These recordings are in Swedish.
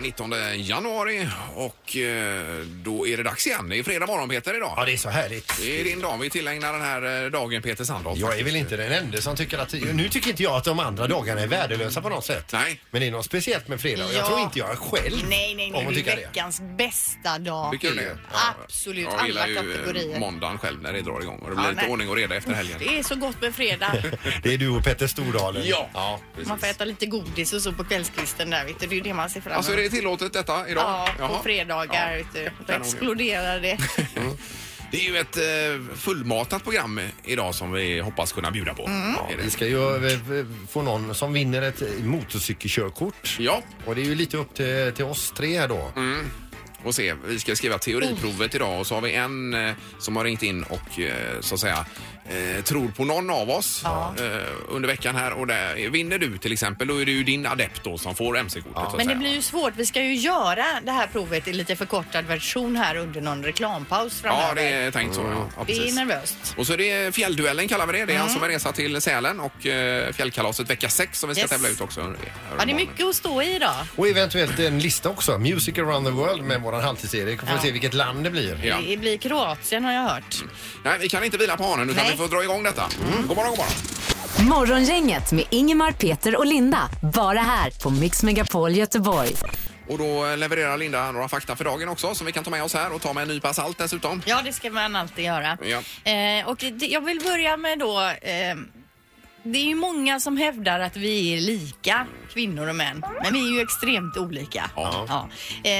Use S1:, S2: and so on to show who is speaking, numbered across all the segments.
S1: 19 januari och eh, då är det dags igen. Det är fredag morgon Peter
S2: Ja,
S1: idag.
S2: det är så härligt.
S1: Det är din dag. Vi tillägnar den här eh, dagen Peter Sandholt.
S2: Jag är väl inte den enda som tycker att... Nu tycker inte jag att de andra dagarna är värdelösa på något sätt.
S1: Nej.
S2: Men det är något speciellt med fredag. Jag
S3: Ja.
S2: tror inte jag är själv
S3: Nej, nej,
S2: om
S3: nej.
S2: att
S3: Det
S2: tycka
S3: är
S2: det.
S3: veckans bästa dag.
S1: Tycker du det?
S3: Absolut,
S1: Jag
S3: alla
S1: gillar ju eh,
S3: kategorier.
S1: måndagen själv när det drar igång och det blir
S3: Ja,
S1: lite
S3: nej.
S1: ordning och reda efter helgen.
S3: det är så gott med fredag.
S2: Det är du och Petter Stordalen.
S1: Ja.
S3: Man får äta lite godis och så på kvällskvisten där, vet du. Det är ju det man ser fram emot.
S1: Alltså är det tillåtet detta idag?
S3: Ja,
S1: Jaha.
S3: på fredagar.
S1: Ja.
S3: Vet du. Då
S1: Kanon.
S3: exploderar det.
S1: Det är ju ett eh, fullmatat program idag som vi hoppas kunna bjuda på.
S3: Mm.
S1: Ja,
S2: Vi
S1: det-
S2: ska ju eh, få någon som vinner ett eh, motorcykelkörkort.
S1: ja, Mm.
S2: Och det är ju lite upp till, till oss tre här då.
S1: och se. Vi ska skriva teoriprovet idag och så har vi en eh, som har ringt in och eh, så att säga eh, tror på någon av oss eh, under veckan här och där, vinner du till exempel då är det ju din adept då som får mc-kortet. så att
S3: Men det
S1: säga.
S3: blir ju svårt. Vi ska ju göra det här provet i lite förkortad version här under någon reklampaus
S1: Ja,
S3: framöver.
S1: det är tänkt så. Ja. Ja,
S3: Mm. det är
S1: precis.
S3: nervöst.
S1: Och så är det Fjällduellen kallar vi det. Det är han som är resa till Sälen och eh, Fjällkalaset vecka 6 som vi ska
S3: Yes.
S1: tävla ut också. här
S3: Ja, det
S1: imorgon.
S3: är mycket att stå i idag.
S2: Och eventuellt en lista också. Music around the world med våran halvtids-Erik. Får
S3: Ja.
S2: se vilket land det blir.
S1: Ja.
S3: Det blir Kroatien har jag hört.
S1: Nej, vi kan inte vila på hanen utan
S3: Nej. Mm.
S1: vi får dra igång detta. God morgon, god morgon.
S4: Morgongänget med Ingemar, Peter och Linda. Bara här på Mix Megapol Göteborg.
S1: Och då eh, levererar Linda några fakta för dagen också som vi kan ta med oss här och ta med en nypa salt dessutom.
S3: Ja, det ska man alltid göra.
S1: Ja.
S3: Eh, och det, jag vill börja med då... Eh, det är ju många som hävdar att vi är lika, kvinnor och män. Men vi är ju extremt olika.
S1: Ja.
S3: Eh,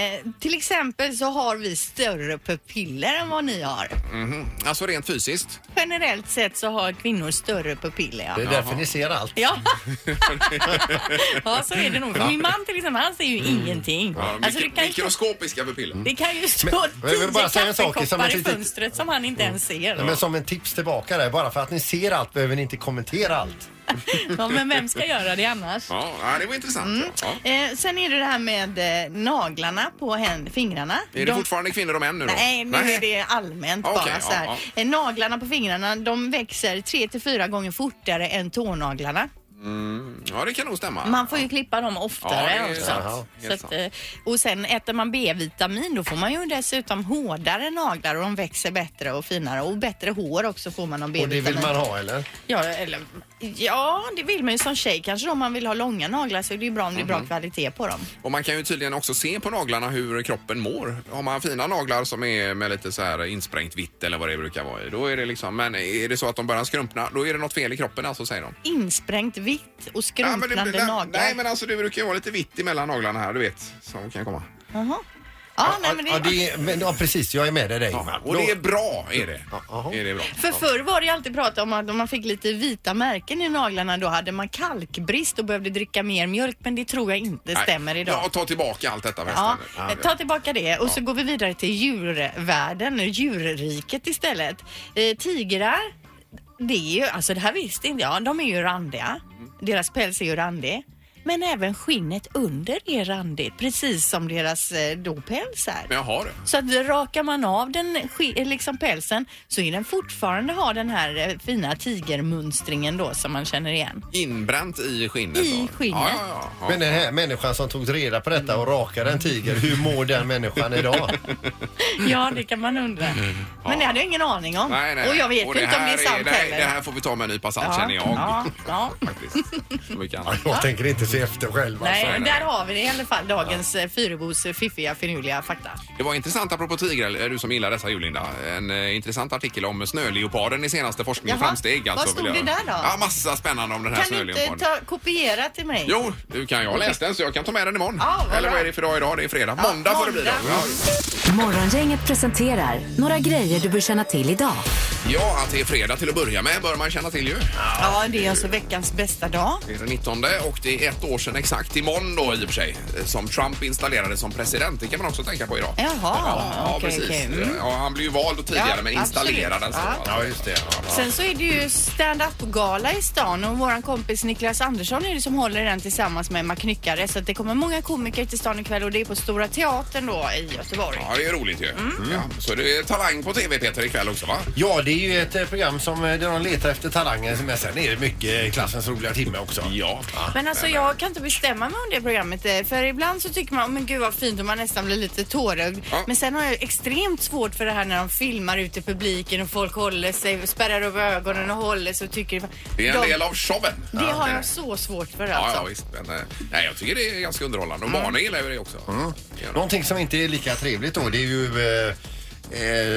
S3: till exempel så har vi större pupiller än vad ni har.
S1: Mhm. Alltså rent fysiskt.
S3: Generellt sett så har kvinnor större pupiller. Ja.
S2: Det är därför ni ser allt.
S3: Ja. ja, så är det nog. För Min man till exempel, han ser ju
S2: Mm.
S3: ingenting. Alltså, det, kan ju, Mm.
S1: mikroskopiska pupiller.
S3: det kan ju stå
S2: Men- men jag
S3: tio
S2: vill bara säga en sak, som
S3: kaffekoppar
S2: ett
S3: i
S2: litet-
S3: fönstret som han inte ens ser.
S2: Men som en tips tillbaka där. Bara för att ni ser allt behöver ni inte kommentera allt.
S3: Ja, men vem ska göra det annars?
S1: Ja, ja, det var intressant. Ja.
S3: Eh, sen är det det här med eh, naglarna på hän- fingrarna.
S1: Är det
S3: De-
S1: fortfarande kvinnor och män nu då? Ah,
S3: Nej, nu är det allmänt
S1: Okej,
S3: bara så här.
S1: ja,
S3: Eh, Naglarna på fingrarna, de växer tre till fyra gånger fortare än tånaglarna.
S1: Mm. Ja, det kan nog stämma.
S3: Man får ju klippa dem oftare
S1: Ah. Ja, det är
S3: också.
S1: sant.
S2: Jaha.
S3: Så
S1: Helt
S3: att, eh, och sen äter man B-vitamin, då får man ju dessutom hårdare naglar och de växer bättre och finare. Och bättre hår också får man av
S2: Och det
S3: B-vitamin.
S2: vill man ha eller?
S3: Ja, eller, ja, det vill man ju som tjej kanske då. Om man vill ha långa naglar så är det ju bra om det är bra
S1: Mhm.
S3: kvalitet på dem.
S1: Och man kan ju tydligen också se på naglarna hur kroppen mår. Har man fina naglar som är med lite så här insprängt vitt eller vad det brukar vara i, då är det liksom, men är det så att de börjar skrumpna, då är det något fel i kroppen alltså säger de.
S3: Insprängt vitt och
S1: Ja, men det-
S3: skrumpnande
S1: nej,
S3: naglar.
S1: Nej men alltså det brukar ju vara lite vitt emellan naglarna här, du vet, som kan komma.
S3: Jaha. Ja, nej, men det...
S2: Ja, det är, men, ja precis, jag är med dig där
S1: Ja,
S2: Ingmar.
S1: och det är bra är det.
S2: aha.
S1: Är det bra.
S3: För förr var det ju alltid prat om att om man fick lite vita märken i naglarna då hade man kalkbrist och behövde dricka mer mjölk men det tror jag inte
S1: Nej.
S3: stämmer idag.
S1: Ja, ta tillbaka allt detta
S3: Ja, eh,
S1: förresten. Ja.
S3: ta tillbaka det och så går vi vidare till djurvärlden, djurriket istället. Eh, tigrar, det är ju, alltså det här visste inte jag, de är ju randiga.
S1: Mm.
S3: Deras päls är ju randig. Men även skinnet under är randigt, precis som deras eh, då päls är.
S1: Men jag har det.
S3: Så att rakar man av den sk- eh, liksom pälsen så är den fortfarande har den här eh, fina tigermönstringen då som man känner igen.
S1: Inbränt i skinnet.
S3: I
S1: då.
S3: skinnet.
S1: Ja, ja, ja.
S2: Men den här människan som tog reda på detta och rakade en tiger, hur mår den människan idag?
S3: Ja, det kan man undra. Men det hade jag ingen aning om.
S1: Mm. Nej, nej,
S3: Och jag vet
S1: och
S3: inte om det
S1: här
S3: är sant
S1: det, här,
S3: heller.
S1: det här får vi ta med en nypa salt känner jag.
S3: Ja, ja.
S1: Faktiskt. Som vi kan.
S2: Jag tänker inte se efter själv
S3: Nej,
S2: alltså.
S3: men
S1: nej.
S3: där har vi det i alla fall. Dagens ja. Fyrebos eh, fiffiga, finurliga fakta.
S1: Det var intressant apropå tigrar, eh, du som gillar dessa djur Linda. En eh, intressant artikel om snöleoparden i senaste Forskning och
S3: Jaha,
S1: framsteg. alltså,
S3: vad stod
S1: vill jag-
S3: det där då?
S1: Ja, massa spännande om den här
S3: Kan du inte
S1: snöleoparden.
S3: ta, kopiera till mig?
S1: Jo, du kan jag har läst den så jag kan ta med den imorgon.
S3: Ja, vad
S1: Eller vad
S3: bra.
S1: är det för dag idag? Det är fredag.
S3: Ja,
S1: måndag får det bli då.
S3: måndag.
S1: Ja.
S4: Morgongänget presenterar några grejer du bör känna till idag.
S1: ja, att det är fredag till att börja med bör man känna till ju.
S3: Ja, det är alltså veckans bästa dag.
S1: Det är den 19 och det är ett år sedan exakt imorgon då i och för sig eh, som Trump installerades som president. Det kan man också tänka på idag.
S3: Jaha,
S1: Ja, ja
S3: okej,
S1: precis.
S3: okej, mm.
S1: Ja, han blev ju vald tidigare
S3: Ja,
S1: men installerad
S3: absolut.
S1: alltså.
S2: Ja, just det.
S3: Sen så är det ju stand-up-gala i stan och våran kompis Niklas Andersson är det som håller den tillsammans med Emma Knyckare. Så att det kommer många komiker till stan ikväll och det är på Stora Teatern då i Göteborg. Mm.
S1: Ja, det är roligt ju. Ja, så det är Talang på TV Peter ikväll också va?
S2: Ja, det är ju ett eh, program som eh, där de letar efter talanger men sen är det mycket eh, klassens roliga timme också.
S1: Ja.
S3: Men alltså jag kan inte bestämma mig om det programmet eh, för ibland så tycker man, "Åh, men gud vad fint och man nästan blir lite tårögd.
S1: Ja.
S3: Men sen har jag extremt svårt för det här när de filmar ute i publiken och folk håller sig, spärrar upp ögonen och håller sig och tycker...
S1: Det är en
S3: de,
S1: del av showen.
S3: Det har jag så svårt för
S1: Ja, ja,
S3: alltså.
S1: visst. Men, eh, nej, jag tycker det är ganska underhållande.
S3: Mm.
S1: Och barnen gillar ju det också.
S2: Mm.
S1: Ja.
S2: Någonting som inte är lika trevligt då det är ju eh,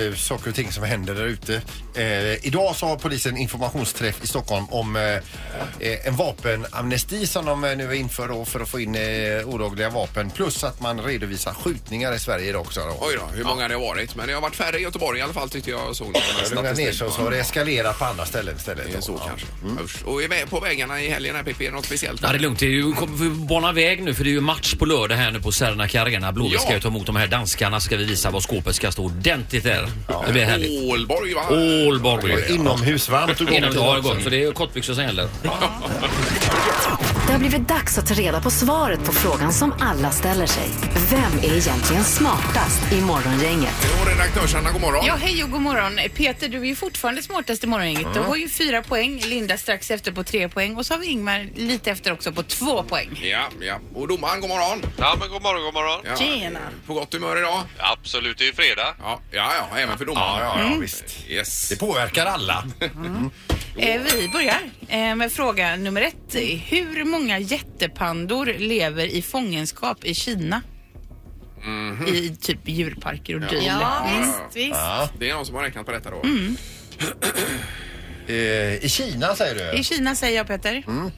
S2: eh, saker och ting som händer där ute. Eh, idag så har polisen informationsträff i Stockholm om eh, eh, en vapenamnesti som de eh, nu inför då för att få in eh, olagliga vapen plus att man redovisar skjutningar i Sverige idag också. Då.
S1: Oj då, hur många det har varit. Men det har varit färre i Göteborg i alla fall tyckte jag såg någon
S2: Det lugnar ner
S1: statistik.
S2: sig och så har det eskalerat på andra ställen istället.
S1: Det är så
S2: då. Ja.
S1: kanske. Usch. Och är vi på vägarna i helgen här Pippi, är det något speciellt?
S5: Nej, det är lugnt. Det är ju, kom- vi bana väg nu för det är ju match på lördag här nu på Sernake Arena. Blåvitt
S1: Ja.
S5: ska ju ta emot de här danskarna ska vi visa vad skåpet ska stå ordentligt där. Det blir härligt.
S1: Ålborg va?
S5: Ålborg.
S2: Och Inomhusvarmt och gott.
S5: Innan det har gått, för det är ju kortbyxor som gäller.
S4: Det har blivit dags att ta reda på svaret på frågan som alla ställer sig. Vem är egentligen smartast i Morgongänget?
S1: Och redaktörsarna, god morgon.
S6: Ja, hej och god morgon.
S3: Eh,
S6: Peter, du är ju fortfarande smartast i morgongänget.
S1: Mm.
S6: Du har ju fyra poäng, Linda strax efter på tre poäng och så har vi Ingmar lite efter också på två poäng.
S1: Ja, ja. Och domaren, god morgon.
S7: Ja, men god morgon, god morgon.
S1: Ja.
S3: Tjena.
S1: På gott humör idag?
S7: Absolut, det är ju fredag.
S1: Ja, ja, ja även för domaren.
S2: Ja, ja, ja, visst.
S1: Yes.
S2: Det påverkar alla.
S6: Eh, vi börjar eh, med fråga nummer ett. Hur många jättepandor lever i fångenskap i Kina? I typ djurparker och dylikt.
S3: Ja, visst, visst.
S1: Det är någon som har räknat på detta då.
S2: Eh, I Kina säger du?
S6: Mm. I Kina säger jag Peter.
S3: Mm.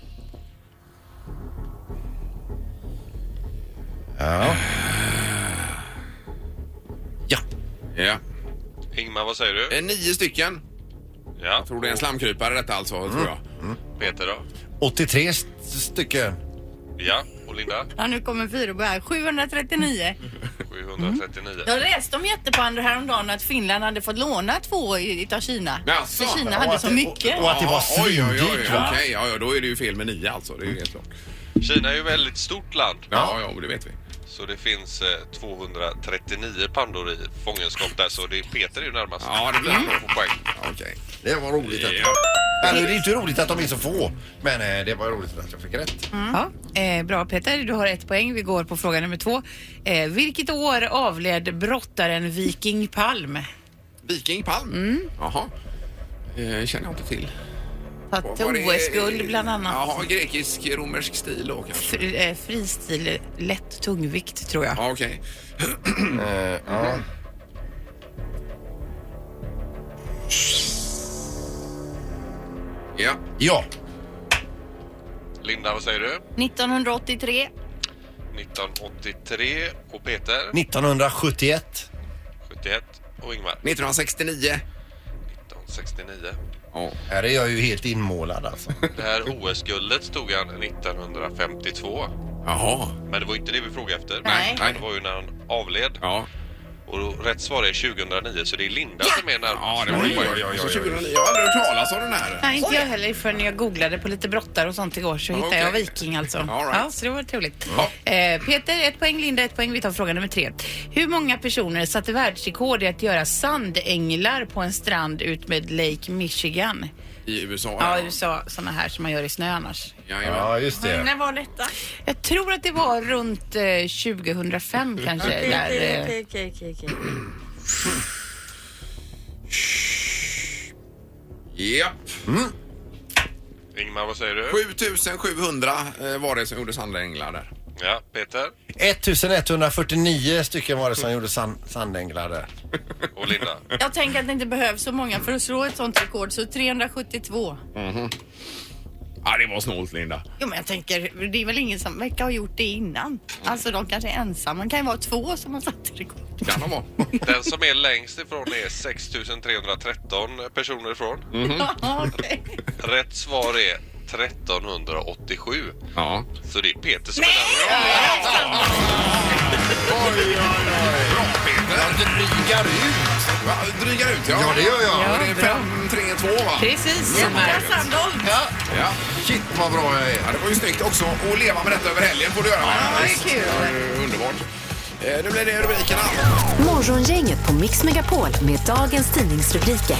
S5: Ja.
S1: Ja.
S7: Ingmar, vad säger du?
S1: Eh, Nio stycken.
S7: Ja,
S1: Tror det är en slamkrypare detta alltså, tror jag.
S7: Peter då?
S2: 83 st- stycken.
S7: Ja, och Linda?
S3: Ja, nu kommer Fyrobo här. 739.
S1: Mm.
S7: 739.
S3: Jag läste om jättepandor häromdagen att Finland hade fått låna två i- utav Kina.
S1: Jaså?
S3: För Kina
S1: Ja,
S3: hade
S2: att
S3: så
S2: det-
S3: mycket.
S2: och- och att det var
S1: Ja, oj, oj, oj,
S2: svindyrt, va?
S1: Okej, ja, ja, då är det ju fel med nio alltså. Det är ju helt klart.
S7: Kina är ju ett väldigt stort land,
S1: Ja, ja, det vet vi.
S7: så det finns eh, 239 pandor i fångenskap där, så det är Peter är ju närmast.
S1: Ja, det blir han.
S7: På poäng.
S1: Ja, Okej.
S2: Det var roligt. Att...
S1: Ja.
S2: Eller, det är inte roligt att de är så få, men eh, det var roligt att jag fick rätt.
S6: Ja,
S3: Mm.
S6: eh, bra Peter, du har ett poäng. Vi går på fråga nummer två. Eh, vilket år avled brottaren Viking Palm?
S1: Viking Palm? Jaha. Eh, känner jag inte till.
S6: Tagit
S1: Var det-
S6: OS-guld bland annat.
S1: Jaha, grekisk-romersk stil då kanske.
S6: Fr- eh, fristil, lätt tungvikt tror jag.
S1: Ja, okej.
S2: Eh,
S1: Ja.
S2: Ja,
S7: Linda, vad säger du?
S3: 1983.
S7: 1983 och Peter?
S2: 1971.
S7: 71 och Ingmar?
S1: 1969.
S7: 1969.
S1: Ja.
S2: Här är jag ju helt inmålad alltså.
S7: Det här OS-guldet stod han 1952.
S1: Jaha.
S7: Men det var ju inte det vi frågade efter.
S3: Nej.
S7: Det var ju när han avled.
S1: Ja.
S7: Och då, rätt svar är 2009, så det är Linda som är närmast.
S1: Ja, det var ju
S2: Oj, oj, oj,
S1: Så
S2: oj, oj.
S1: 2009. Jag har aldrig hört talas om den här.
S6: Nej, inte jag heller förrän jag googlade på lite brottar och sånt igår så
S1: Ja,
S6: hittade
S1: okej.
S6: jag viking alltså.
S1: All right.
S6: Ja, så det var trevligt.
S1: Ja.
S6: Eh, Peter, ett poäng. Linda, ett poäng. Vi tar fråga nummer tre. Hur många personer satte världsrekord i att göra sandänglar på en strand ut med Lake Michigan?
S1: I USA?
S6: Ja, USA, såna här som man gör i snö annars.
S1: Ja,
S2: Ja, just det.
S3: När var detta?
S6: Jag tror att det var runt eh, 2005 kanske. där, eh,
S3: Okej, okej, okej, okej.
S1: Japp.
S7: Ingmar, vad säger du?
S1: 7700 eh, var det som gjorde sandelänglar där.
S7: Ja, Peter
S2: 1149 stycken var det som gjorde san- sandänglar där.
S7: och Linda.
S3: Jag tänker att det inte behövs så många för att slå ett sånt rekord, så 372.
S1: Ja, det var snålt, Linda.
S3: Jo, men jag tänker, det är väl ingen som verkar ha gjort det innan. Alltså, de kanske är ensamma. Det kan ju vara två som har satt rekord.
S1: Kan de vara.
S7: Den som är längst ifrån är 6313 personer ifrån.
S1: Mm.
S3: Ja, okej.
S7: Rätt svar är 1387.
S1: Ja.
S7: Så det är Peter som är närmast.
S2: Jag drygar ut!
S1: Va, drygar ut, ja.
S2: Ja, det gör jag.
S1: Ja, det är 5, 3, 2, va?
S6: Precis, Ingmar.
S3: Sandholt!
S2: Ja.
S1: Ja.
S2: Shit vad bra jag är.
S1: ja, det var ju snyggt också. Och leva med detta över helgen får du göra. Ja,
S3: det är kul.
S1: underbart. Eh, nu blir det rubrikerna.
S4: Morgongänget på Mix Megapol med dagens tidningsrubriker.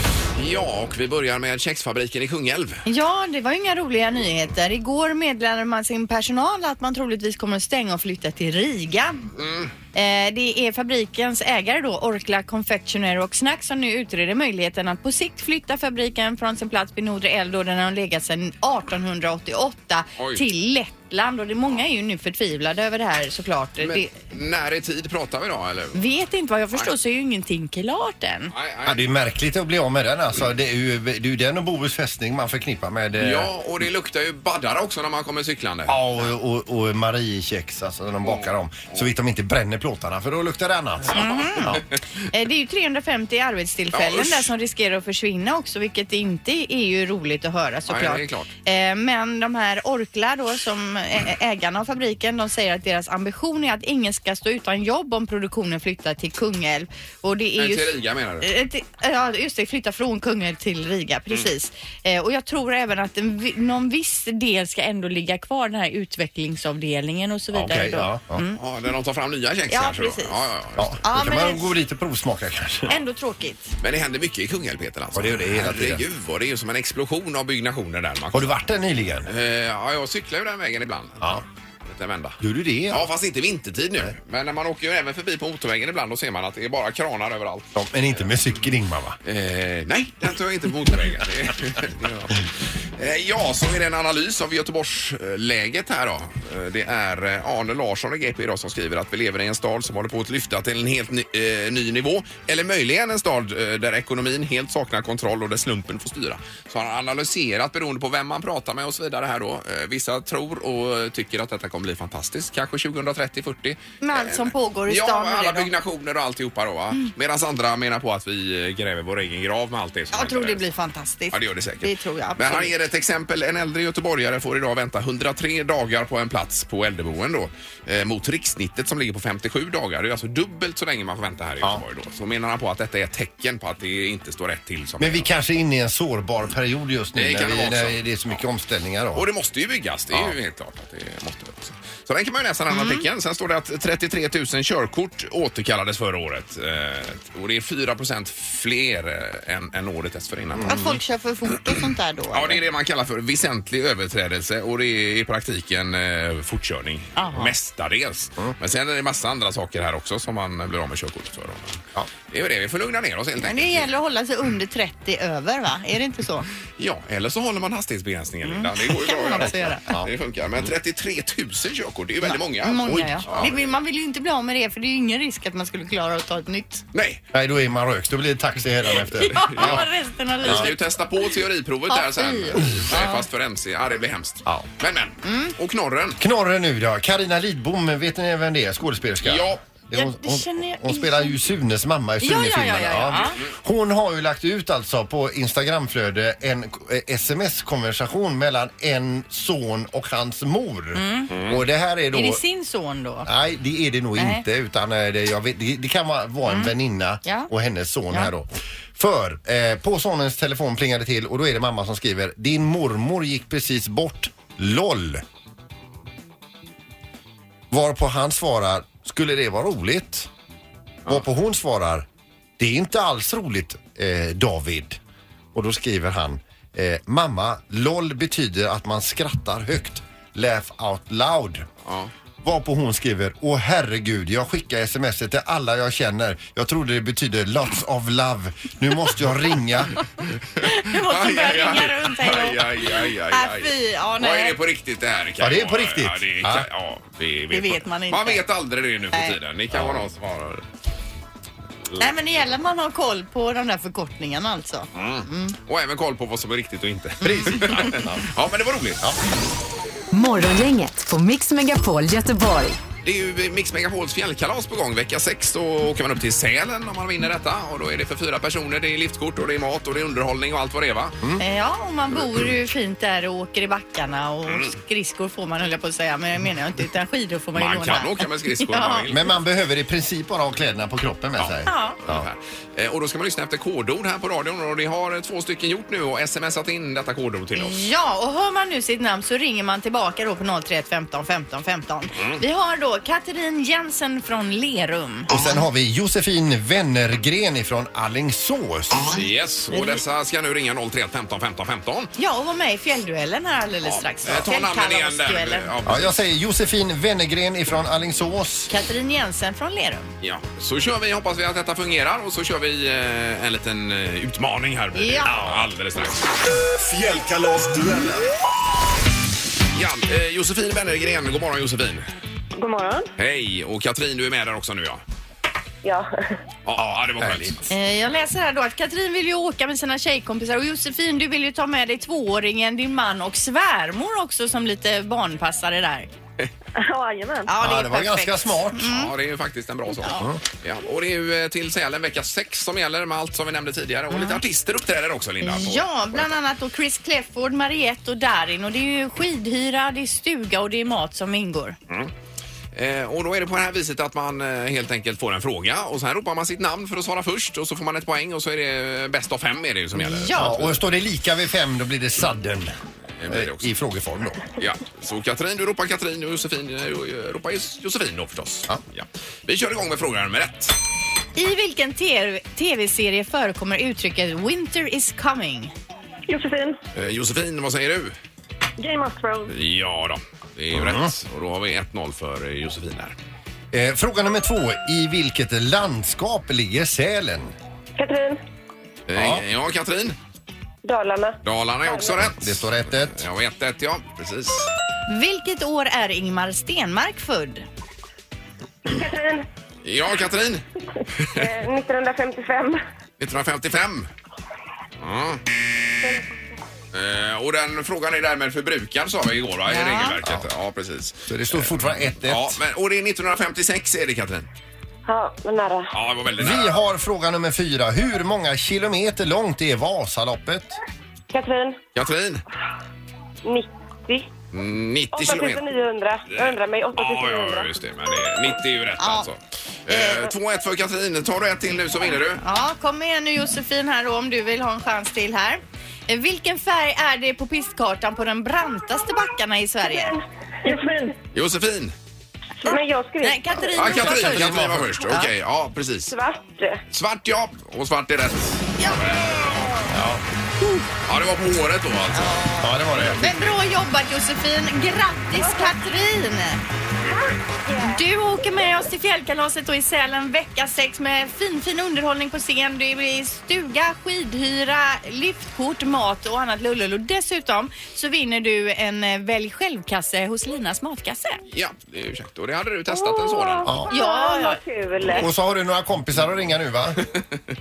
S1: Ja, och vi börjar med kexfabriken i Kungälv.
S3: Ja, det var ju inga roliga nyheter. Igår meddelade man sin personal att man troligtvis kommer att stänga och flytta till Riga.
S1: Mm.
S3: Eh, Det är fabrikens ägare då, Orkla Confectionery och Snack som nu utreder möjligheten att på sikt flytta fabriken från sin plats vid Nordre Eld där den har legat sedan 1888
S1: Oj.
S3: till Lettland. Och det, många är ju nu förtvivlade över det här såklart.
S1: Men
S3: Det,
S1: när i tid pratar vi då eller?
S3: vet inte vad jag förstår så är ju ingenting klart än.
S1: Nej,
S2: Ja, det är märkligt att bli av med den alltså. Det är ju, det är ju den och Bohus fästning man förknippar med... eh,
S1: Ja, och det luktar ju baddare också när man kommer cyklande.
S2: Ja, och, och, och Mariekex, alltså när de bakar dem. Så vitt de inte bränner plåtarna, för då luktar det annat. Ja.
S3: Eh, Det är ju 350 arbetstillfällen
S1: Ja, usch.
S3: där som riskerar att försvinna också vilket inte är ju roligt att höra såklart.
S1: det är klart.
S3: Eh, Men de här Orkla då som ä- ägarna av fabriken de säger att deras ambition är att ingen ska stå utan jobb om produktionen flyttar till Kungälv. Och det är
S1: Nej,
S3: ju...
S1: till Riga menar du?
S3: Eh, till- Ja, just det. Flytta från Kungälv till Riga,
S1: Mm.
S3: precis. Eh, och jag tror även att en, vi- någon viss del ska ändå ligga kvar, den här utvecklingsavdelningen och så vidare.
S2: Okej,
S3: då.
S2: ja. ja.
S1: Ja, där de tar fram nya kex
S3: Ja,
S1: kanske då.
S3: precis.
S1: Ja, ja, ja.
S2: ja.
S3: Ja,
S2: Då kan
S3: men
S2: man
S3: det-
S2: gå dit och provsmaka kanske.
S3: Ändå tråkigt.
S1: Men det händer mycket i Kungälv Peter alltså.
S2: Ja, det gör det hela tiden.
S1: Herregud, vad det är ju som en explosion av byggnationer där Max.
S2: Har du varit där nyligen?
S1: Eh, Ja, jag cyklar ju den vägen ibland.
S2: Ja.
S1: Lite vända.
S2: Gör du det?
S1: Ja, fast inte vintertid nu. Men när man åker ju även förbi på motorvägen ibland då ser man att det är bara kranar överallt.
S2: Ja, Men inte med cykel Ingmar va?
S1: Eh, nej, den tar jag inte på motorvägen. Det gör jag. Eh, ja, så är det en analys av Göteborgsläget här då. Eh, Det är eh, Arne Larsson i GP idag som skriver att vi lever i en stad som håller på att lyfta till en helt ny, eh, ny nivå. Eller möjligen en stad eh, där ekonomin helt saknar kontroll och där slumpen får styra. Så han har analyserat beroende på vem man pratar med och så vidare här då. Eh, vissa tror och eh, tycker att detta kommer bli fantastiskt. Kanske 2030-40.
S3: Med allt som pågår i
S1: Eh, ja,
S3: stan nu
S1: alla
S3: då. Mm.
S1: byggnationer och alltihopa då va. Medan andra menar på att vi eh, gräver vår egen grav med allt det som
S3: Jag tror
S1: händer.
S3: det blir fantastiskt.
S1: Ja, det gör det säkert.
S3: Det tror jag
S1: Men han
S3: absolut.
S1: ger ett exempel. En äldre göteborgare får idag vänta 103 dagar på en plats på äldreboen då. Eh, mot rikssnittet som ligger på 57 dagar. Det är alltså dubbelt så länge man får vänta här i Göteborg då. Så menar han på att detta är ett tecken på att det inte står rätt till. Som
S2: Men vi kanske är inne i en sårbar period just nu
S1: Det
S2: när,
S1: kan det
S2: vi,
S1: vara också.
S2: när det är så mycket omställningar. Då.
S1: Och det måste ju byggas, det är ju helt klart att det måste det också. Så den kan man ju läsa den
S3: Mm.
S1: artikeln. Sen står det att 33 000 körkort återkallades förra året. Eh, och det är 4 fler eh, än, än året dessförinnan.
S3: Mm. Att folk kör för fort och sånt där då?
S1: Mm. Ja, det är det man kallar för väsentlig överträdelse och det är i praktiken eh, fortkörning mestadels.
S3: Mm.
S1: Men sen är det massa andra saker här också som man blir av med körkortet för. Ja. Det är ju det, vi får lugna ner oss helt
S3: Men
S1: enkelt.
S3: det gäller att hålla sig under 30 över va? Är det inte så?
S1: Ja, eller så håller man hastighetsbegränsningen
S3: Mm.
S1: Linda. Det går ju
S3: Kan
S1: bra
S3: man
S1: att
S3: också
S1: göra.
S3: göra.
S1: Ja. Det funkar. Men 33 000 körkort, det är ju väldigt många.
S3: Många
S1: Oj.
S3: ja. Det, vill- man vill ju inte bli av med det för det är ju ingen risk att man skulle klara att ta ett nytt.
S1: Nej,
S2: Nej, då är man rökt. Då blir det taxi hädanefter.
S3: Ja, resten av
S1: Vi ska ju
S3: livet.
S1: testa på teoriprovet
S3: Ja, Mm.
S1: där sen.
S3: fy.
S1: Nej, Fast för MC. Ja, det blir hemskt.
S2: Ja.
S1: Men, men. Och knorren.
S2: Knorren nu då. Karina Lidbom, vet ni vem det är? Skådespelerska.
S1: Ja.
S2: Det är Hon,
S3: Ja, det känner
S2: hon,
S3: jag
S2: hon
S3: igen.
S2: spelar ju Sunes mamma i
S3: Ja, ja, ja,
S2: Sune-filmerna.
S3: ja, ja.
S2: Hon har ju lagt ut alltså på Instagramflöde en eh, sms-konversation mellan en son och hans mor. Och det här är då...
S3: Mm. Är det sin son då?
S2: Nej, det är det nog
S3: Nej. Mm.
S2: inte. Utan eh, det, jag vet, det, det kan vara, vara en väninna
S3: Ja.
S2: och hennes son
S3: Ja.
S2: här då. För eh, på sonens telefon plingar det till och då är det mamma som skriver Din mormor gick precis bort. LOL. Varpå han svarar Skulle det vara roligt? Varpå hon svarar Det är inte alls roligt eh, David. Och då skriver han eh, Mamma, LOL betyder att man skrattar högt. Laugh out loud.
S1: Ja.
S2: Varpå hon skriver Åh herregud, jag skickar sms till alla jag känner. Jag trodde det betydde lots of love. Nu måste jag ringa.
S3: Du måste börja ringa runt
S1: aj, aj,
S3: här.
S1: aj, aj, aj.
S3: Ah, fy, ja,
S1: Vad
S3: nej.
S1: är det på riktigt det här?
S2: Ja, det är
S1: vara-
S2: på riktigt.
S1: Ja, det,
S2: Ja.
S1: kan, ja, det, vet,
S3: Det vet man inte.
S1: Man vet aldrig det nu för
S3: Nej.
S1: tiden. Det kan vara någon som har...
S3: Nej men det gäller att man har koll på de där förkortningarna alltså.
S1: Och även koll på vad som är riktigt och inte. ja, men det var roligt.
S4: Morgongänget på Mix Megapol Göteborg.
S1: Det är ju Mix Megapols fjällkalas på gång. Vecka 6 då åker man upp till Sälen om man vinner detta. Och då är det för fyra personer. Det är liftkort och det är mat och det är underhållning och allt vad det är va?
S3: Eh, Ja, och man bor
S1: Mm.
S3: ju fint där och åker i backarna och skridskor får man höll jag på att säga, men jag menar jag inte utan skidor får man ju
S1: Man
S3: låna.
S1: kan åka med skridskor om
S3: Ja.
S1: man vill.
S2: Men man behöver i princip bara ha kläderna på kroppen med sig.
S3: Ja.
S1: Ungefär. Eh, Och då ska man lyssna efter kodord här på radion och det har eh, två stycken gjort nu och smsat in detta kodord till oss.
S3: Ja, och hör man nu sitt namn så ringer man tillbaka då på 031 15 15 15. Vi har då då Katrin Jensen från Lerum.
S2: Och sen har vi Josefin Wennergren ifrån Allingsås.
S1: Yes,
S3: Mm.
S1: och dessa ska nu ringa 031 15 15 15.
S3: Ja, och var med i fjällduellen här alldeles strax.
S1: Eh, Ta namnen igen där.
S3: Fjällkalasduellen.
S1: Ja,
S2: Ja, jag säger Josefin Wennergren ifrån Allingsås.
S3: Katrin Jensen från Lerum.
S1: Ja, så kör vi. Hoppas vi att detta fungerar och så kör vi eh, en liten eh, utmaning här.
S3: Ja.
S1: alldeles strax.
S8: Fjällkalasduellen.
S1: Ja, eh, Josefin Wennergren, god morgon Josefin.
S9: God morgon.
S1: Hej, och Katrin du är med där också nu ja.
S9: Ja.
S1: Ja, ja, det var skönt.
S3: Eh, Jag läser här då att Katrin vill ju åka med sina tjejkompisar och Josefin du vill ju ta med dig tvååringen, din man och svärmor också som lite barnpassare där.
S9: Ja, Jajamän.
S3: Ja,
S2: Ja,
S3: är
S2: det var
S3: perfekt.
S2: ganska smart.
S1: Ja, det är ju faktiskt en bra sak. Ja. och det är ju eh, till Sälen vecka 6 som gäller med allt som vi nämnde tidigare. Och lite artister uppträder också Linda. på-
S3: Ja, bland annat då Chris Clefford, Mariette och Darin och det är ju skidhyra, det är stuga och det är mat som ingår.
S1: Mm. Eh, och då är det på det här viset att man eh, helt enkelt får en fråga och sen ropar man sitt namn för att svara först och så får man ett poäng och så är det eh, bäst av fem är det ju som gäller.
S2: Ja,
S3: Ja.
S2: och står det lika vid fem då blir det sudden
S1: Det blir det också.
S2: Eh, i frågeform då.
S1: Ja, så Katrin, du ropar Katrin och Josefin eh, ropar Jos- Josefin då förstås.
S2: Ja.
S1: Vi kör igång med fråga nummer ett.
S3: I vilken te- tv-serie förekommer uttrycket “Winter is coming”?
S9: Josefin.
S1: Eh, Josefin, vad säger du?
S9: Game of Thrones.
S1: Ja då, det är ju
S2: Mm.
S1: rätt. Och då har vi 1-0 för eh, Josefin här.
S2: Eh, fråga nummer två. I vilket landskap ligger Sälen?
S9: Katrin.
S1: Eh, Ja, Katrin.
S9: Dalarna.
S1: Dalarna är också rätt.
S2: Det står 1-1.
S1: Ja, 1-1 ja, precis.
S3: Vilket år är Ingmar Stenmark född?
S9: Katrin.
S1: Ja, Katrin.
S9: Eh, 1955.
S1: 1955. Ja. Eh, och den frågan är därmed förbrukad sa vi igår va? i regelverket. Ja, precis.
S2: Så det står fortfarande 1-1.
S1: Ja, men, och det är 1956 är det Katrin.
S9: Ja, men nära.
S1: Ja, det var väldigt nära.
S2: Vi har fråga nummer fyra. Hur många kilometer långt är Vasaloppet?
S9: Katrin.
S1: Katrin,
S9: 90.
S1: 90 kilometer. Eh,
S9: 8900. Jag undrar mig.
S1: Ja, ja, ja,
S9: 8900.
S1: just det. Men det, 90 är ju rätt alltså. Eh, 2-1 för Katrin. Tar du ett till nu så vinner du.
S3: Ja, kom igen nu Josefin här då om du vill ha en chans till här. Eh, Vilken färg är det på pistkartan på den brantaste backarna i Sverige?
S9: Josefin.
S1: Josefin.
S9: Men jag skrev
S3: Nej, Katrin
S1: Ja,
S3: du tar
S1: Katrin,
S3: först.
S1: Katrin var först. Okej, ja precis.
S9: svart.
S1: Svart ja, och svart är rätt.
S3: Ja.
S1: Ja, det var på håret då alltså.
S2: Ja, det var det.
S3: Men bra jobbat Josefin! Grattis Katrin! Du åker med oss till fjällkalaset och i Sälen vecka 6 med fin, fin underhållning på scen. Det blir stuga, skidhyra, liftkort, mat och annat lullul. Och dessutom så vinner du en eh, välj själv-kasse hos Linas matkasse.
S1: Ja, det är ursäkt. Och det hade du testat en sådan.
S2: Ja.
S3: Ja, ja.
S9: Vad kul.
S2: Och så har du några kompisar att ringa nu va?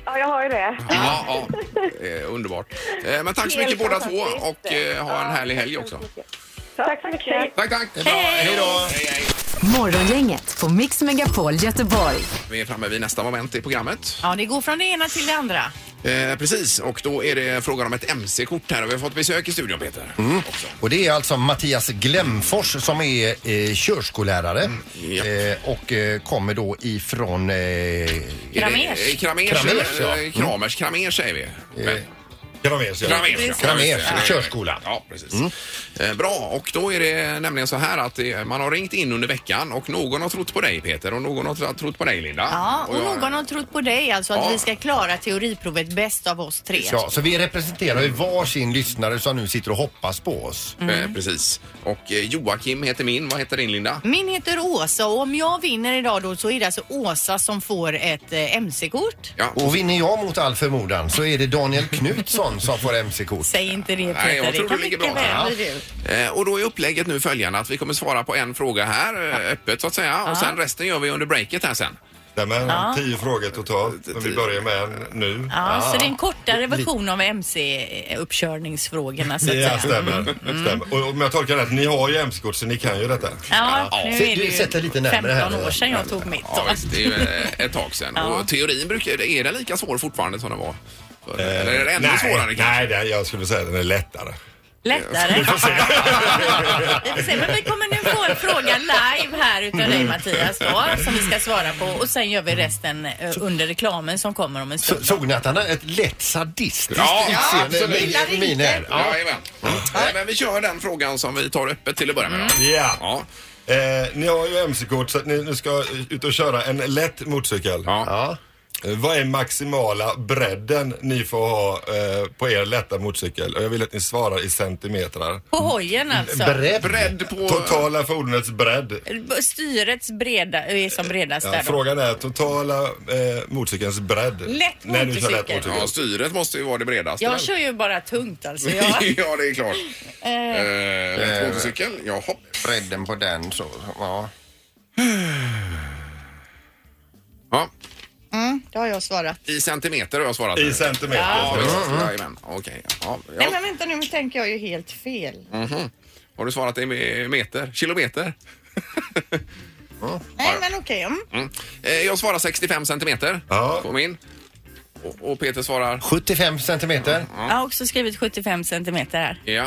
S9: Ja, jag har ju det.
S1: Ja, ja. Eh, Underbart. Eh, Men tack så mycket
S9: Helt
S1: båda två
S9: fantastiskt.
S1: och eh, ha en härlig helg också.
S9: Tack så mycket.
S1: Tack, tack.
S2: Bra, Hej då!
S1: Hej, hej.
S4: Morgongänget på Mix Megapol Göteborg.
S1: Vi är framme vid nästa moment i programmet.
S3: Ja, det går från det ena till det andra.
S1: Eh, precis, och då är det frågan om ett MC-kort här och vi har fått besök i studion Peter. Också.
S2: Och det är alltså Mattias Glemfors som är eh, körskollärare
S1: ja.
S2: eh, och eh, kommer då ifrån eh,
S3: Kramers.
S1: Eh, Kramers,
S2: Kramers, ja.
S1: eh, Kramers, Kramers säger vi. Men,
S2: Kramers,
S1: Kramers, ja. Ja,
S2: Kramers
S1: just det.
S2: körskola.
S1: Ja, precis. Eh, bra, och då är det nämligen så här att eh, man har ringt in under veckan och någon har trott på dig Peter och någon har tr- trott på dig Linda.
S3: Ja, och
S1: jag-
S3: någon har trott på dig alltså att
S1: Ja.
S3: vi ska klara teoriprovet bäst av oss tre.
S2: Ja, så vi representerar ju varsin lyssnare som nu sitter och hoppas på oss.
S3: Mm.
S1: Eh, precis. Och eh, Joakim heter min. Vad heter din Linda?
S3: Min heter Åsa och om jag vinner idag då så är det alltså Åsa som får ett eh, MC-kort.
S1: Ja.
S2: Och vinner jag mot all förmodan så är det Daniel Knutsson som får MC-kort.
S3: Säg inte det Peter,
S1: Nej, jag tror
S3: det kan
S1: du ligger
S3: mycket
S1: bra
S3: väl
S1: till.
S3: bli du.
S1: Eh, och då är upplägget nu följande att vi kommer svara på en fråga här eh, öppet så att säga och sen resten gör vi under breaket här sen.
S8: Nämen, tio frågor totalt. Men vi börjar med en nu.
S3: Ja, Så det är en kortare version av MC-uppkörningsfrågorna så att
S8: Ja,
S3: säga.
S8: stämmer.
S2: Mm.
S8: stämmer. Och om jag tolkar rätt, ni har ju MC-kort så ni kan ju detta.
S3: Ja,
S1: Ja,
S3: nu
S2: se-
S3: är
S2: du
S3: det
S2: sätter
S3: ju
S2: lite närmare här
S3: 15
S2: nu.
S3: år sedan jag tog mitt.
S1: Ja, visst, det är ju eh, ett tag sen.
S3: Ja.
S1: Och teorin brukar, är den lika svår fortfarande som den var? förr? Eller är det ännu svårare kanske?
S8: Eh, Nej, det, jag skulle säga att den är lättare.
S3: Lättare. Vi får se. Men vi kommer nu få en fråga live här utav dig Mattias då, som vi ska svara på och sen gör vi resten eh, under reklamen som kommer om en stund.
S2: Så- Såg ni att han har ett lätt sadistiskt
S1: Ja,
S2: utseende
S1: absolut.
S2: med-
S1: Gillar
S2: med min här?
S8: Mm.
S1: Ja, jajamän. Eh, Men vi kör den frågan som vi tar öppet till att börja med. Då.
S8: Ja.
S1: Ja.
S8: Eh, ni har ju MC-kort så att ni nu ska ut och köra en lätt motorcykel.
S1: Ja.
S8: Eh, Vad är maximala bredden ni får ha eh, på er lätta motorcykel? Och jag vill att ni svarar i centimeter.
S3: På hojen alltså.
S1: Bredd på...
S8: Totala fordonets bredd.
S3: Styrets breda är som bredast
S8: Ja,
S3: där då.
S8: frågan är totala eh, motorcykelns bredd.
S3: Lätt
S8: När du kör lätt
S3: motorcykel.
S8: motorcykel.
S1: Ja, styret måste ju vara det bredaste.
S3: Jag
S1: väl?
S3: kör ju bara tungt alltså. Jag,
S1: ja, det är klart. Eh, lätt motorcykel? Ja, hopp.
S2: Bredden på den så, ja.
S1: Ja,
S3: det har jag svarat.
S1: I centimeter har jag svarat.
S8: I centimeter.
S1: Ja, visst. Jajamän. Okej. Ja,
S3: Nej
S1: ja.
S3: men vänta nu, nu tänker jag ju helt fel.
S1: Har du svarat i me- meter? Kilometer?
S3: Nej men okej. Mm.
S1: Mm. Eh, Jag svarar 65 centimeter
S8: Ja.
S1: på min. Och, och Peter svarar...
S2: 75 centimeter.
S3: Jag har också skrivit 75 centimeter här.
S1: Ja.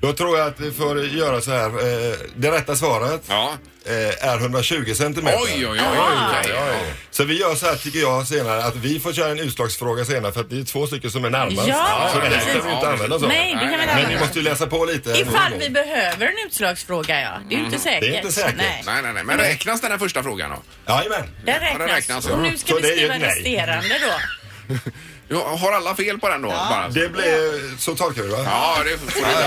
S8: Då tror jag att vi får göra så här. Eh, det rätta svaret
S1: ja.
S8: eh, är 120 centimeter.
S1: Oj, oj, oj. oj,
S8: Oj,
S1: oj.
S8: oj. Så vi gör så här tycker jag senare att vi får köra en utslagsfråga senare för att det är två stycken som är närmast.
S3: Ja,
S8: så det här
S1: precis.
S8: kan vi ju inte använda så.
S3: Nej, det kan vi inte
S8: Men ni
S3: använda.
S8: måste ju läsa på lite.
S3: Ifall vi behöver en utslagsfråga ja. Det är ju inte säkert.
S8: Det är inte säkert.
S3: Nej.
S1: Nej, nej, nej. Men räknas den här första frågan då?
S8: Jajamän.
S3: Den
S1: Ja,
S3: räknas.
S1: den räknas, ja.
S3: Och nu ska
S8: Så
S3: vi
S8: det är ju
S3: skriva
S8: ett nej.
S3: resterande då.
S1: Ja, Har alla fel på den då? Bara?
S8: Det blir så talkurva.
S1: Ja, det får det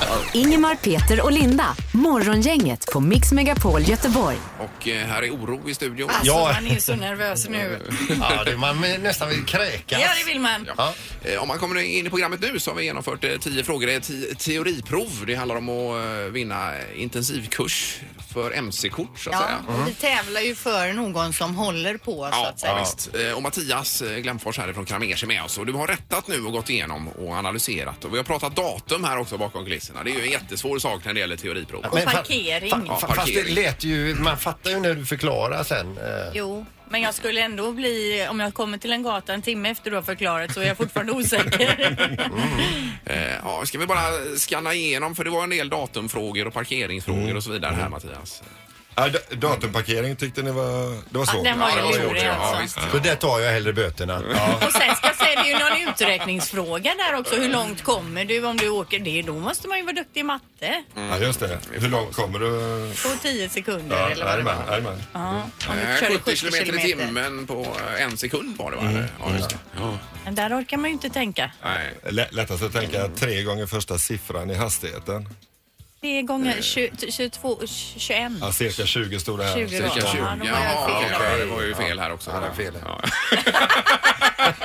S1: ja,
S4: Ingemar, Peter och Linda. Morgongänget på Mix Megapol Göteborg.
S1: Och eh, här är oro i studion.
S3: Alltså
S2: Ja.
S3: man är ju så nervös nu.
S2: Ja, det man nästan vill kräkas.
S3: Ja det vill man.
S2: Ja.
S1: Eh, Om man kommer in i programmet nu så har vi genomfört eh, tio frågor. Det är ti- teoriprov. Det handlar om att eh, vinna intensivkurs för MC-kort så att
S3: Ja,
S1: säga.
S3: och vi tävlar ju för någon som håller på så
S1: Ja,
S3: att säga.
S1: ja, visst. Eh, Och Mattias eh, Glenfors härifrån Kramers är med oss. Och du har rättat nu och gått igenom och analyserat. Och vi har pratat datum här också bakom kulisserna. Det är ju en jättesvår sak när det gäller teoriprov.
S3: Och parkering.
S2: Fa, fa,
S1: Ja,
S2: fast det
S1: parkering.
S2: lät ju, man fattar ju när du förklarar sen. eh.
S3: Jo, men jag skulle ändå bli, om jag kommer till en gata en timme efter du har förklarat så är jag fortfarande
S1: Mm,
S3: osäker.
S1: Eh, Ja, ska vi bara skanna igenom? För det var en del datumfrågor och parkeringsfrågor
S2: Mm.
S1: och så vidare här Mattias. Eh,
S8: Ja, d- datumparkering tyckte ni var, det var svårt.
S3: den var
S1: Ja,
S3: ju
S1: det var svårt.
S3: lurig
S1: Ja,
S3: alltså.
S1: visst.
S2: Så där tar jag hellre böterna.
S3: Och sen ska jag säga, det är ju någon uträkningsfråga där också. Hur långt kommer du om du åker det? Då måste man ju vara duktig i matte
S8: Ja, just det. Hur långt kommer du?
S3: på 10 sekunder
S8: Ja,
S3: eller vad det
S8: jajamän,
S3: var.
S8: jajamän.
S3: Ja, om du
S1: Eh,
S3: körde
S1: 70 kilometer i timmen på eh, en sekund var det va?
S2: Mm.
S1: Ja, just det. Ja.
S3: Men där orkar man ju inte tänka.
S1: Nej.
S8: Lä- Lättast att tänka tre gånger första siffran i hastigheten.
S3: 3
S1: Eh.
S3: gånger 20, 22, 21.
S8: Ja, cirka 20 stod det här.
S3: 20
S1: Cirka
S3: då.
S1: 20.
S3: Ja,
S1: Ja,
S3: då var jag
S1: ja,
S3: fel.
S1: okej, det var ju fel här också.
S2: Ja, det är fel.
S1: Ja.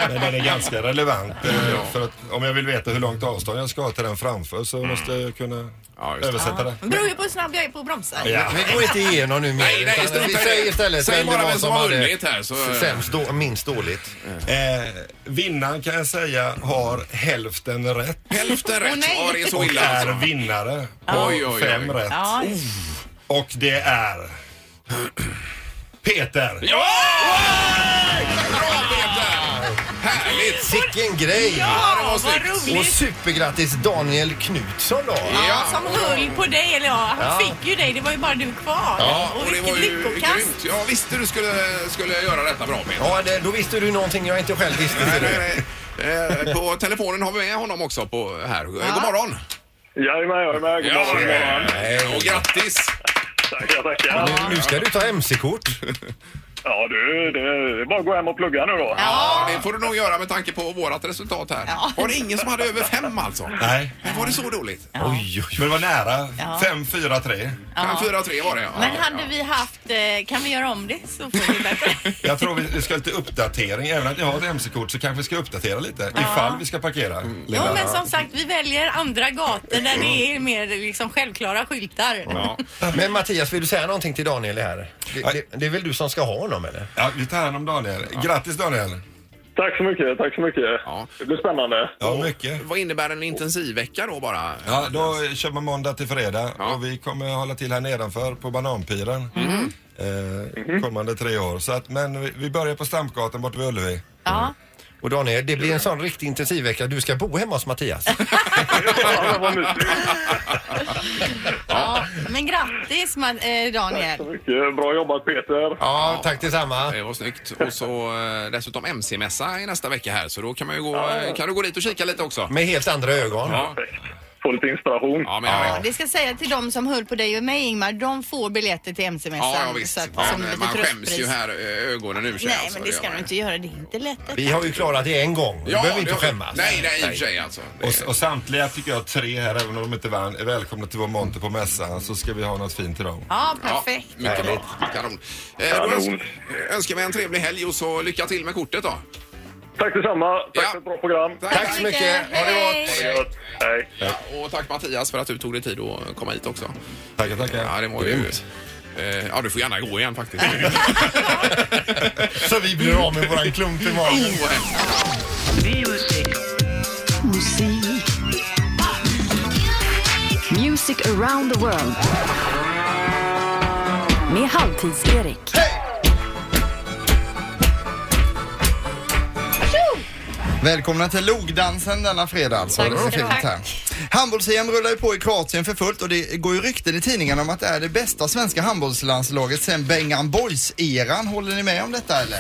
S8: Men den är ganska relevant. eh, För att om jag vill veta hur långt avstånd jag ska ha till den framför så måste jag kunna
S1: Ja, just det.
S8: översätta det.
S3: Mm. Det beror ju på hur snabb jag är på att bromsa.
S8: Ja.
S2: Vi går inte igenom nu mer.
S1: Nej, nej,
S2: utan
S1: strunta i
S2: vi
S1: det.
S2: säger istället
S1: Säg bara
S2: det var
S1: vem som har vunnit här, så-
S2: Sämst då, minst dåligt.
S8: Eh, vinnaren kan jag säga har hälften rätt
S1: Hälften rätt.
S3: nej.
S1: Ja, det är så
S8: och
S1: illa
S8: är
S1: alltså.
S8: vinnare
S1: Oj, oj,
S8: på
S1: oj.
S8: fem rätt.
S3: Ja,
S8: Och det är Peter.
S1: Ja! Bra Peter! Härligt!
S2: Vilken grej!
S1: Ja, det var
S3: vad
S1: snyggt.
S2: Och
S3: roligt!
S2: supergrattis Daniel Knutsson då!
S3: Ja, som höll på dig, eller ja, han fick ju dig. Det var ju bara du kvar.
S1: Ja,
S3: och
S1: och det var
S3: vilket
S1: ju
S3: lyckokast!
S1: grymt. Jag visste du skulle, skulle göra detta bra Peter.
S2: Ja, det, då visste du någonting jag inte själv visste. ser
S1: Nej,
S2: du.
S1: nej, nej. Eh, På telefonen har vi med honom också på, här. Eh, God morgon!
S9: Jajamän, jajamän. God morgon, god morgon.
S1: eh, och grattis!
S9: Tackar, tackar.
S2: Nu ska du ta MC-kort.
S9: Ja, du, det det är bara att gå hem och plugga nu då.
S1: Ja, det får du nog göra med tanke på vårat resultat här. Var det ingen som hade över fem alltså?
S8: Nej.
S1: Men Var det så dåligt?
S2: Oj, oj,
S8: Men det var nära.
S3: Ja.
S8: Fem, fyra, tre.
S1: Fem, fyra, tre var det ja.
S3: Men
S1: Ja,
S3: hade
S1: ja.
S3: vi haft, eh, kan vi göra om det så får vi bättre.
S8: Jag tror vi- vi ska ha lite uppdatering. Även om jag har ett MC-kort så kanske vi ska uppdatera lite ifall vi ska parkera.
S2: Mm.
S3: Jo
S8: Lilla.
S3: men som sagt, vi väljer andra gator där det är mer liksom självklara skyltar.
S1: Ja.
S2: Men Mattias, vill du säga någonting till Daniel här? Det, det, det är väl du som ska ha honom eller?
S8: Ja, vi tar hand om Daniel. Grattis Daniel.
S9: Tack så mycket, tack så mycket.
S1: Ja.
S9: Det blir spännande.
S8: Ja, mycket.
S1: Vad innebär en intensivvecka då bara?
S8: Ja, då kör man måndag till fredag
S1: Ja. Mm.
S8: och vi kommer hålla till här nedanför på Bananpiren
S1: Mm-hmm.
S8: eh, kommande tre år. Så att, men vi, vi börjar på Stampgatan borta vid Ullevi.
S3: Ja.
S2: Och Daniel, det blir en sån riktig intensivvecka. Du ska bo hemma hos Mattias.
S9: Ja, men vad mysigt.
S3: ja. Men grattis man, eh,
S9: Tack så
S3: Daniel.
S9: mycket. Bra jobbat Peter.
S2: Ja, tack detsamma.
S1: Det var snyggt. Och så eh, dessutom MC-mässa i nästa vecka här så då kan, man ju gå, eh, kan du gå dit och kika lite också.
S2: Med helt andra ögon.
S1: Ja.
S9: Få lite inspiration.
S1: Ja, men jag
S3: Ja,
S1: vet.
S3: det ska jag säga till de som höll på dig och mig Ingmar, de får biljetter till MC-mässan.
S1: Ja, ja, visst.
S3: så att-
S1: Ja,
S3: som
S1: men
S3: lite
S1: man skäms
S3: tröstpris.
S1: ju här eh, ögonen ur sig.
S3: Nej,
S1: alltså.
S3: men det ska
S1: gör
S3: du
S1: man.
S3: inte göra. Det är inte lätt.
S2: Vi har ju klarat det en gång. Vi behöver inte
S1: det-
S2: skämmas.
S1: Nej, nej, i och för sig alltså. Det-
S8: Och, och samtliga tycker jag tre här, även om de inte vann, är välkomna till vår monter på mässan så ska vi ha något fint till dem.
S3: Ja,
S1: Ja,
S3: perfekt.
S1: mycket bra. Kanon. Eh, då
S9: Kanon.
S1: öns- eh, önskar vi en trevlig helg och så lycka till med kortet då.
S9: Tack detsamma. Tack
S1: Ja.
S9: för ett bra program.
S2: Tack så mycket. Ha det gott.
S9: Ha det gott. Hej.
S1: Ja, och tack Mattias för att du tog dig tid att komma hit också.
S8: Tackar, tackar.
S1: Ja, det var ju... Eh, Ja, du får gärna gå igen faktiskt.
S2: Så vi blir av med våran klump i magen.
S1: Oh, vad hemskt.
S4: Musik. Music around the world. Med Halvtids-Erik.
S10: Välkomna till logdansen denna fredag alltså.
S3: Tack
S10: Det var
S3: ska du
S10: fint
S3: ha.
S10: här. Handbolls-EM rullar ju på i Kroatien för fullt och det går ju rykten i tidningarna om att det är det bästa svenska handbollslandslaget sen Bengan Boys-eran. Håller ni med om detta eller?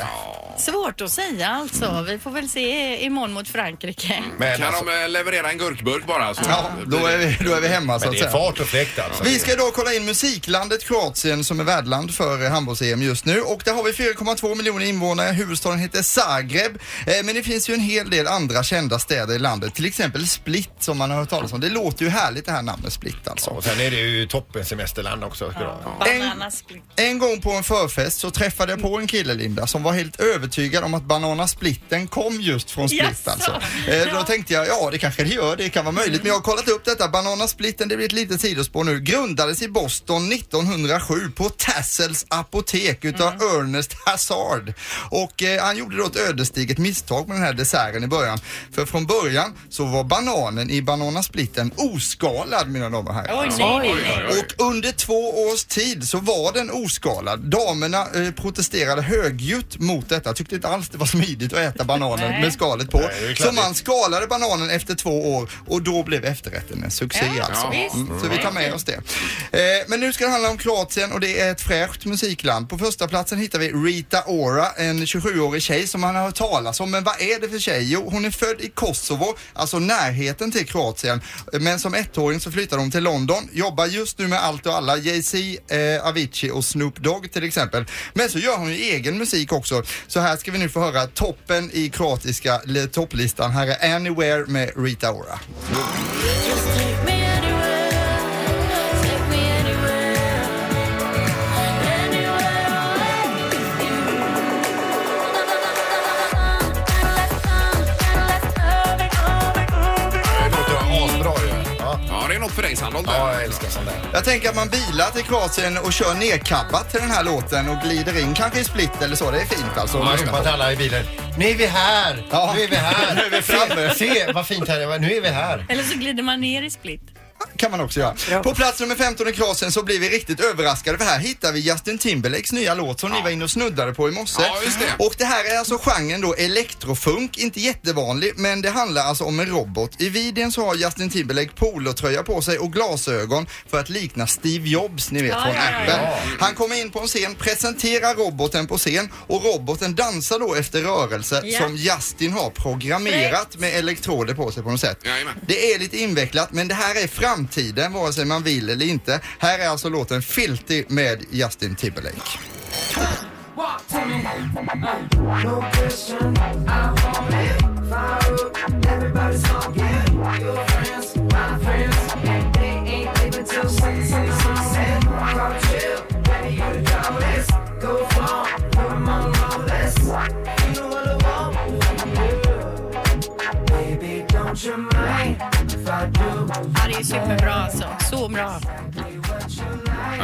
S3: Svårt att säga alltså. Vi får väl se imorgon mot Frankrike.
S2: Men
S1: Kan
S2: alltså,
S1: de eh, leverera en gurkburk bara? Så
S10: Ja, då är vi, då är vi hemma så
S2: men
S10: att
S2: det är
S10: säga.
S2: fart och fläkt alltså.
S10: Vi ska idag kolla in musiklandet Kroatien som är värdland för eh, handbolls-EM just nu och där har vi 4,2 miljoner invånare. Huvudstaden heter Zagreb. Eh, Men det finns ju en hel del andra kända städer i landet, till exempel Split som man har hört talas om. Det låter ju härligt det här namnet Split alltså.
S2: Och sen är det ju toppen semesterland också. ska du ha.
S3: Bananasplit.
S10: En gång på en förfest så träffade jag på en kille Linda som var helt övertygad om att bananasplitten kom just från split
S3: Jaså?
S10: alltså. Eh, då
S3: Ja.
S10: tänkte jag, ja det kanske det gör, det kan vara möjligt. Men jag har kollat upp detta, bananasplitten, det blir ett litet sidospår nu, grundades i Boston 1907 på Tassels apotek utav
S3: Mm.
S10: Ernest Hazard. Och eh, han gjorde då ett ödesdigert misstag med den här desserten i början. För från början så var bananen i bananasplitten oskalad mina damer och herrar.
S3: Oj, nej, nej, nej.
S10: Och under två års tid så var den oskalad. Damerna eh, protesterade högljutt mot detta. Tyckte inte alls det var smidigt att äta bananen med skalet på.
S2: det är ju
S10: så
S2: kladdigt.
S10: man skalade bananen efter två år och då blev efterrätten en succé
S3: Ja,
S10: alltså.
S3: visst.
S10: Mm, så vi tar med oss det. Eh, men nu ska det handla om Kroatien och det är ett fräscht musikland. På första platsen hittar vi Rita Ora, en 27-årig tjej som man har hört talas om. Men vad är det för tjej? Jo, hon är född i Kosovo, alltså närheten till Kroatien. Men som ettåring så flyttade hon till London, jobbar just nu med allt och alla, Jay-Z, eh, Avicii och Snoop Dogg till exempel. Men så gör hon ju egen musik också. Så här ska vi nu få höra toppen i kroatiska le- topplistan. Här är Anywhere med Rita Ora.
S2: Det låter asbra ju. Ja.
S1: Ja, det är något för dig Sandholt.
S2: ja, jag älskar sånt där.
S10: Jag tänker att man bilar till Kroatien och kör nerkabbat till den här låten och glider in kanske i split eller så. Det är fint alltså.
S2: Och man ropar till alla i bilen. Nu är vi här!
S10: Ja.
S2: Nu är vi här!
S10: Nu är vi framme.
S2: Se, se vad fint här är. Nu är vi här!
S3: Eller så glider man ner i split.
S10: kan man också göra. På plats nummer 15 i Kroatien så blir vi riktigt överraskade för här hittar vi Justin Timberlakes nya låt som ni var inne och snuddade på i morse.
S1: Ja, just det.
S10: Och det här är alltså genren då elektrofunk, inte jättevanlig, men det handlar alltså om en robot. I videon så har Justin Timberlake polotröja på sig och glasögon för att likna Steve Jobs, ni vet
S3: Ja,
S10: från
S3: ja, ja,
S10: Apple. Han kommer in på en scen, presenterar roboten på scen och roboten dansar då efter rörelser
S3: Ja.
S10: som Justin har programmerat med elektroder på sig på något sätt.
S1: Jajamän.
S10: Det är lite invecklat men det här är framtiden vare sig man vill eller inte. Här är alltså låten Filthy med Justin Timberlake.
S3: Ja, det är superbra alltså. Så bra.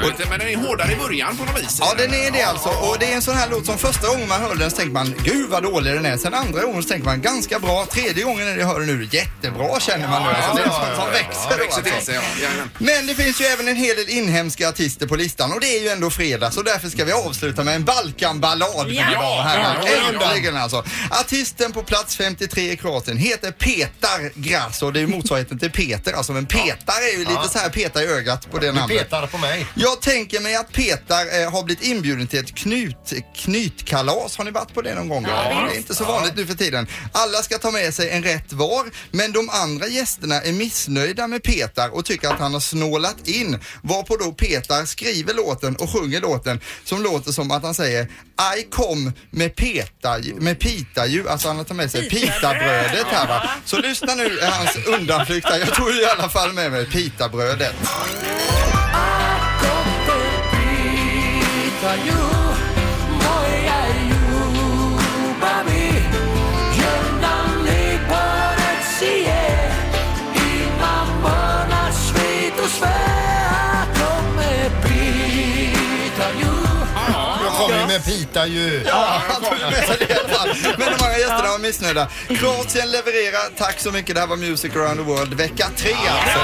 S1: Och, men den är hårdare i början på något vis.
S10: Ja den är det alltså och det är en sån här låt som första gången man hör den så tänker man gud vad dålig den är. Sen andra gången så tänker man ganska bra. Tredje gången när jag hör den nu jättebra känner man nu. Alltså, det är sånt som växer
S1: Ja,
S10: då,
S1: växer till
S10: alltså.
S1: sig. Ja, Jajamän.
S10: Men det finns ju även en hel del inhemska artister på listan och det är ju ändå fredag så därför ska vi avsluta med en Balkanballad. mina
S3: Ja!
S10: damer och herrar.
S1: Ja, ja, ja.
S10: Äntligen alltså. Artisten på plats 53 i Kroatien heter Petar Grasso. Det är ju motsvarigheten till Peter alltså men Petar är ju lite så här peta i ögat på det
S2: Du
S10: namnet.
S2: petar på mig.
S10: Ja, Jag tänker mig att Peter eh, har blivit inbjuden till ett knut, knytkalas. Har ni varit på det någon gång?
S11: Ja.
S10: det är inte så vanligt nu för tiden. Alla ska ta med sig en rätt var, men de andra gästerna är missnöjda med Peter och tycker att han har snålat in. Varpå då Peter skriver låten och sjunger låten som låter som att han säger I kom med, peta, med pita ju, alltså han har tagit med sig pitabrödet här va. Så lyssna nu eh, hans undanflykt här. Jag tog i alla fall med mig pitabrödet.
S2: Jag kommer ju med pita ju.
S10: Ja, han tog med sig det i alla fall. Men de många gästerna var missnöjda. Kroatien levererar. Tack så mycket. Det här var Music around the world vecka tre alltså.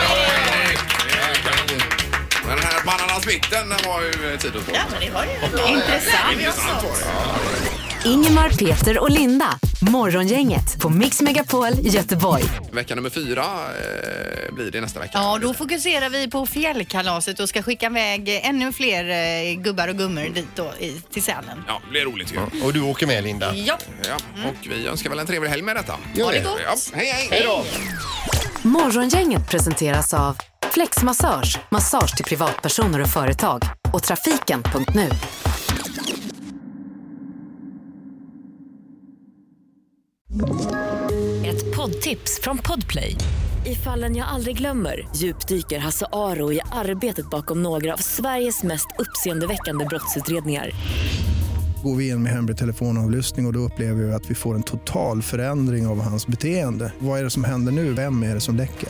S1: Men den här Banana Smitten den var ju eh, tid att få.
S3: Ja, men det var ju
S1: Intressant var det.
S4: Ingemar, Peter och Linda. Morgongänget på Mix Megapol Göteborg.
S1: Vecka nummer fyra eh, blir det nästa vecka.
S3: Ja, då fokuserar vi på fjällkalaset och ska skicka iväg ännu fler eh, gubbar och gummor dit då i, till Sälen.
S1: Ja, det blir roligt ju.
S2: Och du åker med Linda.
S3: Ja.
S1: Ja, och vi önskar väl en trevlig helg med detta.
S4: Gör det.
S1: Ja, hej, hej. hej då.
S4: Morgongänget presenteras av Flexmassage, massage till privatpersoner och företag och trafiken.nu.
S12: Ett poddtips från Podplay. I fallen jag aldrig glömmer djupdyker Hasse Aro i arbetet bakom några av Sveriges mest uppseendeväckande brottsutredningar.
S13: Går vi in med hemlig telefonavlyssning och, och då upplever vi att vi får en total förändring av hans beteende. Vad är det som händer nu? Vem är det som läcker?